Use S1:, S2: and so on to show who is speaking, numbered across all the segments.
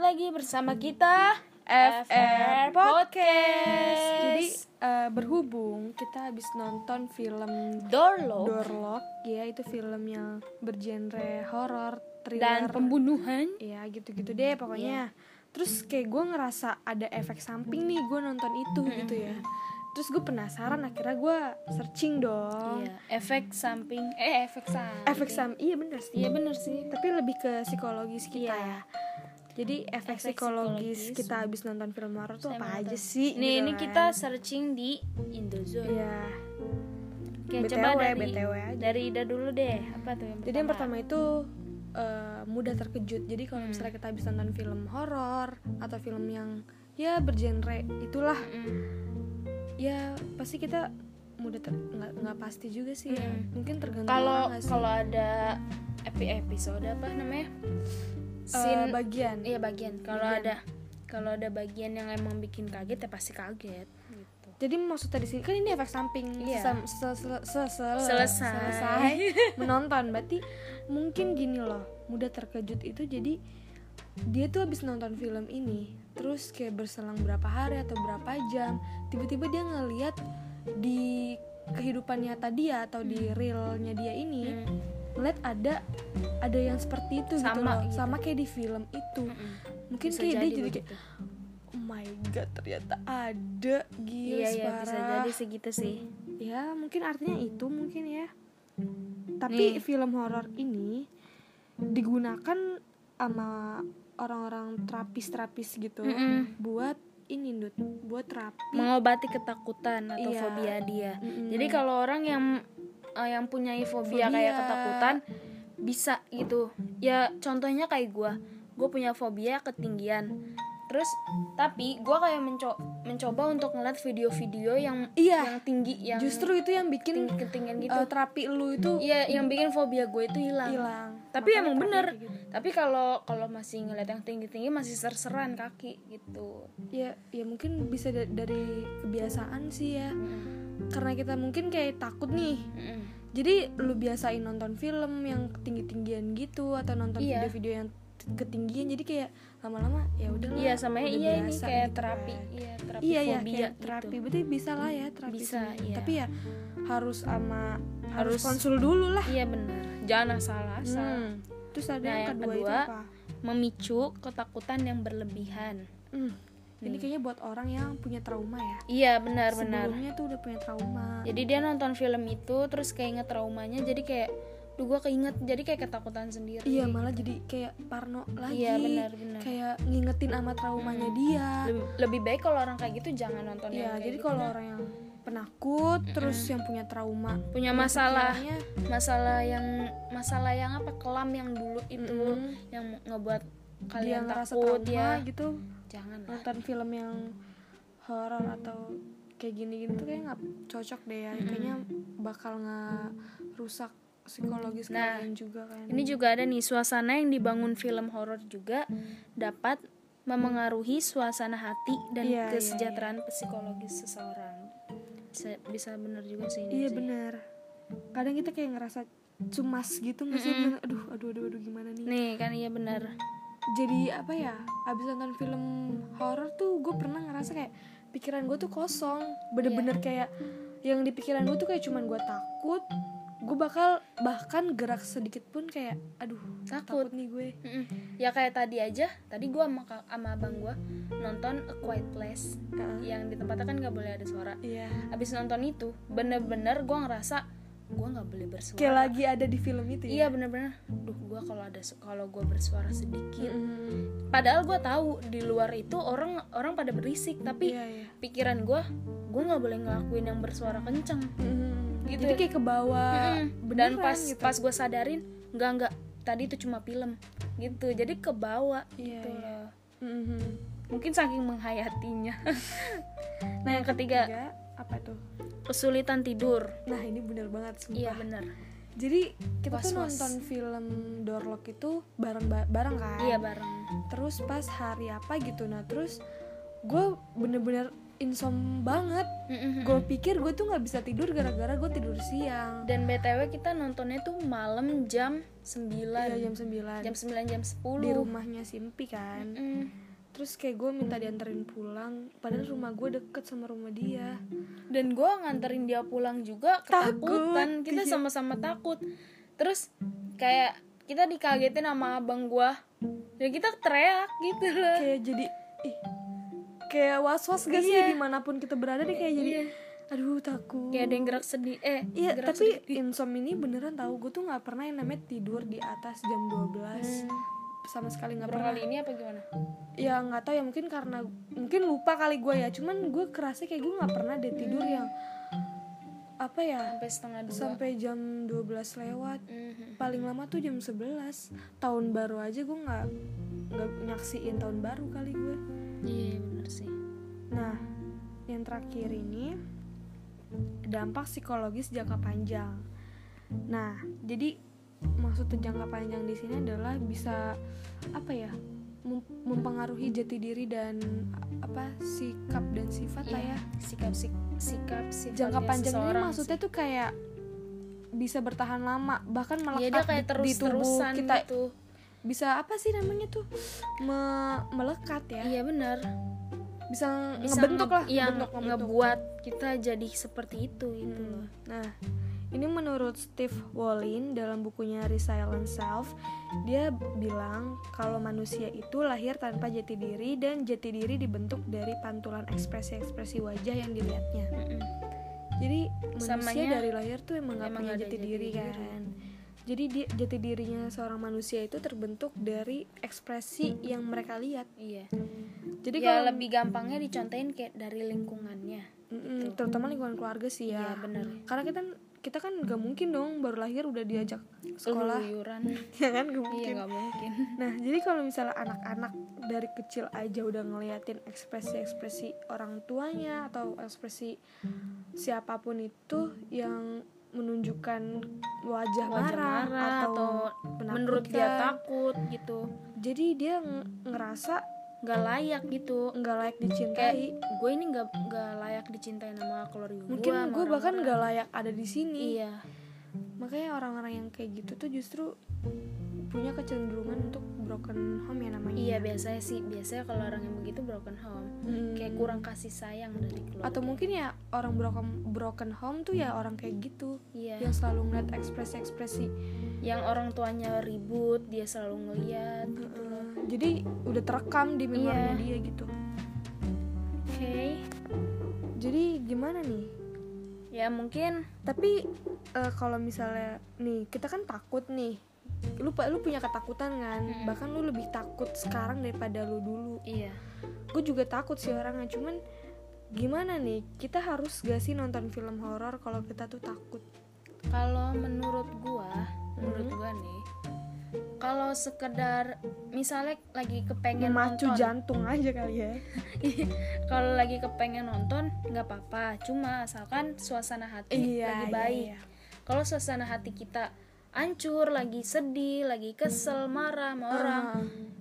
S1: lagi bersama kita
S2: FR
S1: Podcast.
S2: Jadi
S1: Jadi
S2: eh, berhubung kita habis nonton film
S1: Dorlo
S2: Doorlock ya itu film yang bergenre horor,
S1: dan Iya.
S2: thriller,
S1: pembunuhan.
S2: ya gitu-gitu deh pokoknya. Terus kayak gue ngerasa ada efek samping nih gue nonton itu gitu ya. Terus gue penasaran akhirnya gue searching dong.
S1: Iya, efek samping. Eh, efek samping.
S2: Efek sam iya bener sih.
S1: Iya bener sih.
S2: Tapi lebih ke psikologis kita
S1: Iya.
S2: ya. Jadi efek,
S1: Efek
S2: psikologis,
S1: psikologis.
S2: kita habis nonton film horor tuh
S1: Saya
S2: apa
S1: nonton.
S2: aja sih? gitu
S1: Nih, ini
S2: kan.
S1: kita searching di Indozone.
S2: Iya.
S1: Oke,
S2: BTW,
S1: coba dari
S2: BTW aja.
S1: dari Ida dulu deh. Apa tuh yang pertama?
S2: Jadi yang pertama itu eh, mudah terkejut. Jadi kalau
S1: Hmm.
S2: misalnya kita habis nonton film horor atau film yang ya bergenre itulah,
S1: Mm.
S2: ya pasti kita mudah ter nggak nggak pasti juga sih ya.
S1: Mm.
S2: Mungkin tergantung
S1: Kalau
S2: orang nggak sih?
S1: kalau ada epi episode apa namanya?
S2: Eh,
S1: Scene
S2: bagian.
S1: Iya bagian. Kalau
S2: Bagian.
S1: ada kalau ada bagian yang emang bikin kaget ya pasti kaget gitu.
S2: Jadi maksudnya di sini kan ini efek samping
S1: Iya.
S2: sesam- se- se- se- se-
S1: Selesai.
S2: selesai menonton berarti mungkin gini loh mudah terkejut itu jadi dia tuh habis nonton film ini terus kayak berselang berapa hari atau berapa jam tiba-tiba dia ngeliat di kehidupan nyata dia atau
S1: Hmm.
S2: di realnya dia ini
S1: Mm.
S2: ngeliat ada ada yang seperti itu gitu
S1: Sama
S2: loh
S1: gitu.
S2: sama kayak di film itu
S1: Mm-mm.
S2: mungkin
S1: Bisa
S2: kayak dia
S1: jadi gitu.
S2: jadi kayak
S1: begitu.
S2: oh my god ternyata ada gila
S1: Iya iya bisa
S2: parah."
S1: jadi segitu sih.
S2: ya mungkin artinya itu mungkin ya tapi
S1: Nih.
S2: film horor ini digunakan sama orang-orang terapis-terapis gitu
S1: Mm-mm.
S2: buat ini Ndut, buat terapi
S1: Mengobati ketakutan atau
S2: Iya.
S1: fobia dia.
S2: Mm-mm.
S1: Jadi kalau orang yang eh, yang punya fobia,
S2: Fobia.
S1: kayak ketakutan bisa gitu. Ya contohnya kayak gua. Gue punya fobia ketinggian. Terus tapi gua kayak menco- mencoba untuk ngeliat video-video yang
S2: Iya.
S1: yang tinggi yang
S2: justru itu yang bikin
S1: tinggi ketinggian gitu.
S2: eh, terapi lu itu
S1: Iya, yang bikin fobia gue itu hilang.
S2: hilang
S1: Tapi
S2: Makanya
S1: emang
S2: terapi
S1: bener.
S2: kayak gitu.
S1: Tapi kalau kalau masih ngeliat yang tinggi-tinggi masih serseran kaki gitu.
S2: ya ya mungkin bisa da- dari kebiasaan sih ya karena kita mungkin kayak takut nih
S1: Mm-mm.
S2: Jadi lu biasain nonton film yang ketinggi-tinggian gitu atau nonton
S1: Iya.
S2: video-video yang t- ketinggian jadi kayak lama-lama ya udahlah.
S1: Iya, sama
S2: udah
S1: iya ini
S2: biasa
S1: kayak
S2: gitu
S1: terapi,
S2: kan.
S1: iya terapi
S2: Iya ya,
S1: fobia gitu.
S2: kayak terapi. Berarti bisa lah ya terapi.
S1: Bisa,
S2: sendiri.
S1: iya.
S2: Tapi ya harus sama harus
S1: Harus-
S2: konsul dulu lah.
S1: Iya benar. Jangan asal-asal.
S2: Hmm. Terus ada
S1: Nah,
S2: yang,
S1: yang
S2: kedua,
S1: kedua.
S2: itu apa?
S1: Memicu ketakutan yang berlebihan.
S2: Hmm. Ini
S1: Nih.
S2: kayaknya buat orang yang punya trauma ya.
S1: Iya benar benar.
S2: Sebelumnya tuh udah punya trauma.
S1: Jadi dia nonton film itu terus keinget traumanya jadi kayak duh gue keinget jadi kayak ketakutan sendiri.
S2: Iya malah jadi kayak parno lagi.
S1: Iya, Hmm. benar, benar.
S2: Kayak ngingetin sama traumanya dia.
S1: Lebih, lebih baik kalau orang kayak gitu jangan nonton yang
S2: Iya,
S1: kayak
S2: jadi
S1: gitu.
S2: kalau orang yang penakut terus yang punya trauma
S1: punya masalah
S2: pikirannya,
S1: masalah yang masalah yang apa kelam yang dulu itu
S2: Mm-mm.
S1: yang ngebuat
S2: dia
S1: kalian
S2: ngerasa
S1: takut
S2: trauma
S1: ya
S2: gitu
S1: jangan lah.
S2: nonton film yang horor atau kayak gini-gini tuh kayak nggak cocok deh ya kayaknya bakal ngerusak psikologis
S1: Nah,
S2: kalian juga kan
S1: Ini juga ada nih suasana yang dibangun film horor juga dapat memengaruhi suasana hati dan
S2: Iya, iya,
S1: kesejahteraan psikologis seseorang. Bisa, bisa bener juga sih ini.
S2: iya
S1: sih.
S2: benar kadang kita kayak ngerasa cemas gitu nggak sih
S1: Mm-mm.
S2: bener- aduh aduh aduh aduh gimana nih
S1: Nih kan iya bener.
S2: jadi apa ya abis nonton film horor tuh gue pernah ngerasa kayak pikiran gue tuh kosong bener-bener
S1: Iya.
S2: kayak yang di pikiran gue tuh kayak cuman gue takut gue bakal bahkan gerak sedikit pun kayak aduh takut,
S1: Takut.
S2: nih gue
S1: Mm-mm. Ya kayak tadi aja, tadi gua sama, ka- sama abang gua nonton A Quiet Place
S2: Heeh.
S1: yang di tempatnya kan nggak boleh ada suara.
S2: iya
S1: Abis nonton itu bener-bener gua ngerasa gua nggak boleh bersuara.
S2: kayak lagi ada di film itu ya
S1: Iya bener-bener. Duh gua kalau ada su- kalau gua bersuara sedikit
S2: Mm-mm.
S1: padahal gue tahu di luar itu orang orang pada berisik tapi
S2: iya iya
S1: pikiran gue gue nggak boleh ngelakuin yang bersuara kenceng
S2: Mm-mm.
S1: Gitu.
S2: jadi kayak ke bawah
S1: Mm-mm. dan
S2: beneran
S1: pas
S2: gitu.
S1: pas gue sadarin nggak nggak tadi itu cuma film gitu jadi ke bawah
S2: Iya,
S1: gitu
S2: iya.
S1: loh.
S2: Mm-mm.
S1: mungkin saking menghayatinya nah yang ketiga
S2: Tiga, apa tuh
S1: kesulitan tidur
S2: nah ini bener banget sumpah
S1: iya benar
S2: Jadi kita tuh
S1: Was-was.
S2: nonton film Doorlock itu bareng ba- bareng kan.
S1: iya bareng
S2: Terus pas hari apa gitu nah terus gue bener-bener insom banget.
S1: Mm-mm.
S2: Gue pikir gue tuh nggak bisa tidur gara-gara gue tidur siang.
S1: dan btw kita nontonnya tuh malam jam
S2: Iya
S1: 9
S2: jam 9
S1: jam 9 jam 10
S2: di rumahnya Simpi kan.
S1: Mm.
S2: terus kayak gue minta dianterin pulang padahal rumah gue deket sama rumah dia
S1: dan gue nganterin dia pulang juga
S2: Takut,
S1: ketakutan
S2: iya.
S1: kita sama-sama takut terus kayak kita dikagetin sama abang gue dan kita teriak gitu loh
S2: kayak jadi ih, kayak was was gak sih
S1: Iya.
S2: dimanapun kita berada deh kayak jadi aduh takut
S1: kayak ada yang gerak sedih eh
S2: Iya,
S1: gerak
S2: tapi
S1: sedih.
S2: insomnia ini beneran tahu gue tuh nggak pernah yang namanya tidur di atas jam 12
S1: Mm.
S2: sama sekali nggak
S1: berapa
S2: pernah.
S1: kali ini apa gimana
S2: Ya nggak tahu ya mungkin karena mungkin lupa kali gue ya. Cuman gue kerasa kayak gue nggak pernah deh tidur yang apa ya
S1: sampai setengah dua
S2: sampai jam 12 lewat.
S1: Mhm.
S2: Paling lama tuh jam 11 Tahun baru aja gue nggak nggak nyaksiin tahun baru kali gue.
S1: iya bener sih
S2: Nah, yang terakhir ini dampak psikologis jangka panjang. Nah, jadi maksud jangka panjang di sini adalah bisa apa ya? mem- mempengaruhi jati diri dan a- apa sikap dan sifat lah
S1: Iya,
S2: ya.
S1: sikap sik- sikap sifatnya
S2: Jangka panjang ini
S1: seseorang
S2: maksudnya tuh kayak bisa bertahan lama, bahkan
S1: sih. Iya,
S2: melekat
S1: dia kayak
S2: di- di tubuh
S1: terus-terusan
S2: kita.
S1: gitu
S2: Bisa apa sih namanya tuh? Me- melekat ya.
S1: iya bener
S2: Bisa,
S1: Bisa
S2: ngebentuk
S1: nge- iya,
S2: lah,
S1: yang
S2: ngebentuk, ngebentuk.
S1: ngebuat kita jadi seperti itu gitu loh
S2: Nah, ini menurut Steve Wallin dalam bukunya Resilient Self, dia bilang kalau manusia itu lahir tanpa jati diri dan jati diri dibentuk dari pantulan ekspresi-ekspresi wajah yang dilihatnya.
S1: Mm-mm.
S2: Jadi manusia
S1: Samanya,
S2: dari lahir tuh emang gak
S1: emang
S2: punya
S1: nggak ada
S2: jati
S1: jati
S2: diri
S1: diri.
S2: kan. Jadi dia- jati dirinya seorang manusia itu terbentuk dari ekspresi yang mereka lihat.
S1: iya
S2: Jadi
S1: ya
S2: kalau
S1: lebih gampangnya dicontohin kayak dari lingkungannya
S2: Mm-mm, terutama lingkungan keluarga sih ya.
S1: Iya, bener.
S2: Karena kita kita kan gak mungkin dong baru lahir udah diajak sekolah
S1: Keluyuran.
S2: ya kan gak
S1: iya
S2: mungkin
S1: nggak mungkin
S2: nah jadi kalau misalnya anak-anak dari kecil aja udah ngeliatin ekspresi-ekspresi orang tuanya atau ekspresi siapapun itu yang menunjukkan wajah,
S1: Wajah
S2: marah,
S1: marah
S2: atau,
S1: atau menurut dia
S2: menakutkan,
S1: takut gitu
S2: jadi dia ng- ngerasa
S1: nggak layak gitu
S2: nggak layak
S1: kayak
S2: dicintai
S1: gue ini nggak nggak layak dicintain sama keluarga
S2: mungkin
S1: gue
S2: gue bahkan nggak layak ada di sini
S1: iya
S2: makanya orang-orang yang kayak gitu tuh justru punya kecenderungan untuk broken home ya namanya
S1: iya biasanya sih biasanya kalau orang yang begitu broken home
S2: Hmm.
S1: kayak kurang kasih sayang dari keluarga
S2: atau mungkin ya orang broken broken home tuh ya orang kayak gitu
S1: iya
S2: yang selalu ngeliat ekspresi ekspresi
S1: yang orang tuanya ribut dia selalu ngeliat
S2: jadi udah terekam di memorinya
S1: Iya.
S2: dia gitu
S1: oke
S2: jadi gimana nih
S1: ya mungkin
S2: tapi eh, kalau misalnya nih kita kan takut nih lu pa- lu punya ketakutan kan
S1: Mm-mm.
S2: bahkan lu lebih takut sekarang daripada lu dulu
S1: iya
S2: gue juga takut sih orangnya cuman gimana nih kita harus gak sih nonton film horor kalau kita tuh takut
S1: kalau menurut gua menurut
S2: Hmm.
S1: gua nih kalau sekedar misalnya lagi kepengen
S2: memacu
S1: nonton
S2: jantung aja kali ya
S1: kalau lagi kepengen nonton nggak apa-apa cuma asalkan suasana hati lagi baik
S2: iya.
S1: kalau suasana hati kita hancur lagi sedih lagi kesel marah sama orang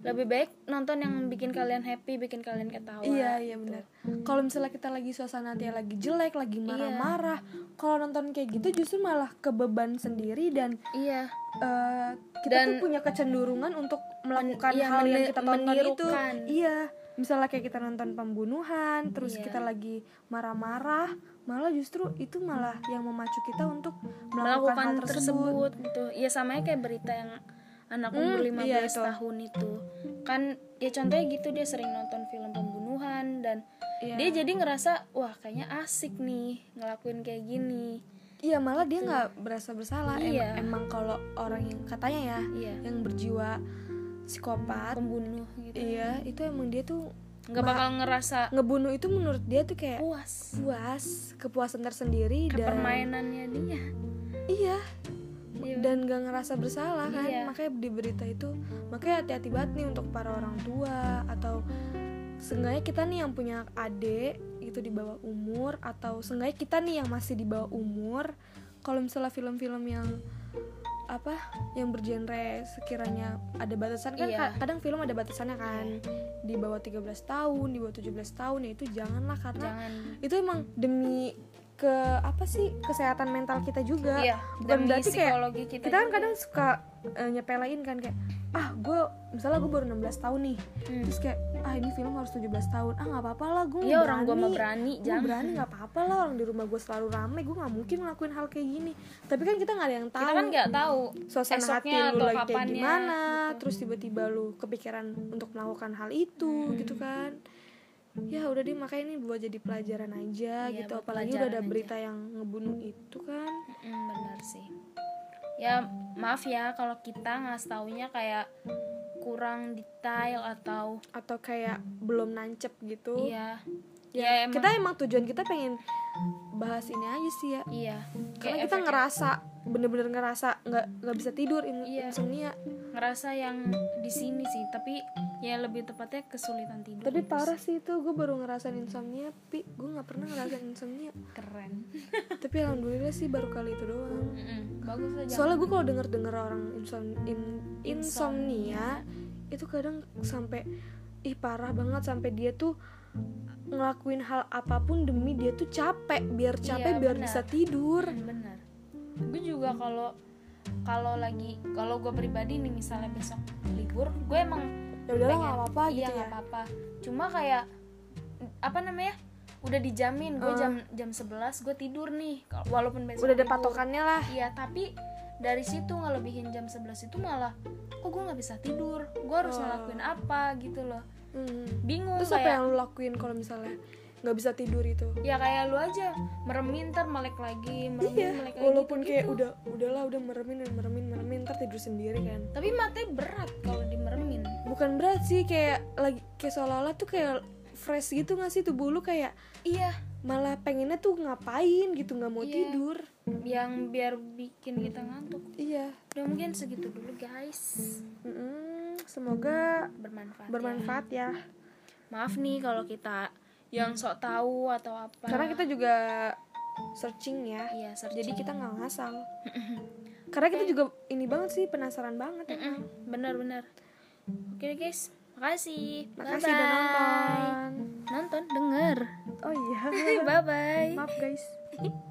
S2: Ah.
S1: lebih baik nonton yang bikin kalian happy bikin kalian ketawa
S2: Iya iya benar. Kalau misalnya kita lagi suasana hati lagi jelek, lagi marah-marah, kalau nonton kayak gitu justru malah kebeban sendiri dan
S1: iya
S2: eh, kita
S1: Dan-
S2: tuh punya kecenderungan untuk melakukan
S1: iya,
S2: hal yang
S1: meni-
S2: kita tonton itu.
S1: menirukan.
S2: Iya. Misalnya kayak kita nonton pembunuhan, terus
S1: Iya.
S2: kita lagi marah-marah, malah justru itu malah yang memacu kita untuk melakukan, hal
S1: melakukan
S2: tersebut.
S1: tersebut gitu ya samanya kayak berita yang anak umur
S2: Hmm,
S1: 15
S2: iya, itu.
S1: tahun itu kan ya contohnya gitu dia sering nonton film pembunuhan dan
S2: Iya.
S1: dia jadi ngerasa wah kayaknya asik nih ngelakuin kayak gini
S2: Iya malah dia nggak berasa bersalah. Em-
S1: Iya.
S2: Emang, kalau orang yang katanya ya
S1: iya
S2: yang berjiwa psikopat,
S1: pembunuh gitu
S2: iya itu emang dia tuh
S1: nggak bakal ngerasa
S2: ngebunuh itu menurut dia tuh kayak
S1: puas
S2: puas, kepuasan tersendiri
S1: ke
S2: dan
S1: permainannya dia
S2: iya
S1: Iya.
S2: dan gak ngerasa bersalah kan.
S1: Iya.
S2: Makanya di berita itu makanya hati-hati banget nih untuk para orang tua atau seenggaknya kita nih yang punya adik gitu di bawah umur atau seenggaknya kita nih yang masih di bawah umur kalau misalnya film-film yang apa yang bergenre sekiranya ada batasan kan
S1: Iya.
S2: ka- kadang film ada batasannya kan di bawah 13 tahun di bawah 17 tahun ya itu janganlah karena
S1: jangan
S2: itu emang demi ke apa sih kesehatan mental kita juga
S1: Iya,
S2: bukan
S1: dan di
S2: berarti kayak
S1: psikologi kita
S2: kita kan
S1: juga.
S2: kadang suka eh, nyepelein kan kayak ah gue misalnya gue baru 16 tahun nih
S1: Hmm.
S2: terus kayak ah ini film harus 17 tahun ah nggak apa-apa lah gue
S1: Iya, orang gua mah berani,
S2: gue
S1: jangan.
S2: berani nggak apa-apa lah orang di rumah gue selalu rame gue nggak mungkin ngelakuin hal kayak gini tapi kan kita nggak ada yang tahu
S1: kita kan nggak tahu
S2: suasana hati lu
S1: esoknya atau
S2: lagi kayak
S1: kapannya,
S2: gimana
S1: gitu.
S2: terus tiba-tiba lu kepikiran untuk melakukan hal
S1: Hmm.
S2: itu gitu kan ya udah deh makanya ini buat jadi pelajaran aja
S1: Iya,
S2: gitu
S1: buat
S2: apalagi udah ada
S1: pelajaran aja.
S2: berita yang ngebunuh itu kan
S1: Mm, benar sih ya maaf ya kalau kita ngasih taunya kayak kurang detail atau
S2: atau kayak belum nancep gitu
S1: iya
S2: ya,
S1: ya, emang-
S2: kita emang tujuan kita pengen bahas ini aja sih ya
S1: iya
S2: karena kita
S1: efek-
S2: ngerasa bener-bener ngerasa nggak nggak bisa tidur in-
S1: Iya.
S2: insomnia
S1: ngerasa yang di sini sih tapi ya lebih tepatnya kesulitan tidur
S2: tapi
S1: itu
S2: parah sih itu gue baru ngerasain insomnia tapi gue nggak pernah ngerasain insomnia
S1: sih. keren
S2: tapi alhamdulillah sih baru kali itu doang
S1: Mm-mm, bagus aja
S2: soalnya gue kalau denger denger orang insom- in- insomnia itu kadang sampai ih parah banget sampai dia tuh ngelakuin hal apapun demi dia tuh capek biar capek
S1: Iya,
S2: biar
S1: benar.
S2: bisa tidur
S1: bener Mm, gue juga kalau kalau lagi kalau gue pribadi nih misalnya besok libur gue emang
S2: ya udahlah
S1: pengen-
S2: nggak apa-apa
S1: iya,
S2: gitu ya
S1: nggak apa-apa cuma kayak apa namanya udah dijamin gue
S2: Eh.
S1: jam jam 11 gue tidur nih Kalau- walaupun besok
S2: udah ada
S1: libur.
S2: patokannya lah
S1: iya tapi dari situ ngelebihin jam 11 itu malah kok gue nggak bisa tidur gue
S2: Oh.
S1: harus ngelakuin apa gitu loh
S2: Hmm.
S1: bingung
S2: terus apa
S1: kayak
S2: yang lo lakuin kalau misalnya nggak bisa tidur itu
S1: ya kayak lu aja meremin ntar melek lagi meremin
S2: iya
S1: melek lagi
S2: walaupun kayak
S1: gitu.
S2: udah udahlah udah meremin dan meremin meremin ntar tidur sendiri kan
S1: tapi matanya berat kalau dimeremin
S2: bukan berat sih kayak lagi kayak seolah-olah tuh kayak fresh gitu nggak sih tubuh lu kayak
S1: iya
S2: malah pengennya tuh ngapain gitu nggak mau
S1: Iya.
S2: tidur
S1: yang biar bikin kita ngantuk
S2: iya
S1: udah mungkin segitu dulu guys
S2: Mm-mm, semoga
S1: bermanfaat ya.
S2: bermanfaat ya
S1: maaf nih kalau kita yang sok tahu atau apa
S2: karena kita juga searching ya
S1: iya searching.
S2: jadi kita nggak ngasal karena kita juga ini banget sih penasaran banget ya
S1: Mm-mm, benar-benar oke deh, guys makasih
S2: makasih udah
S1: Bye-bye.
S2: nonton
S1: nonton denger
S2: oh iya
S1: bye bye
S2: maaf guys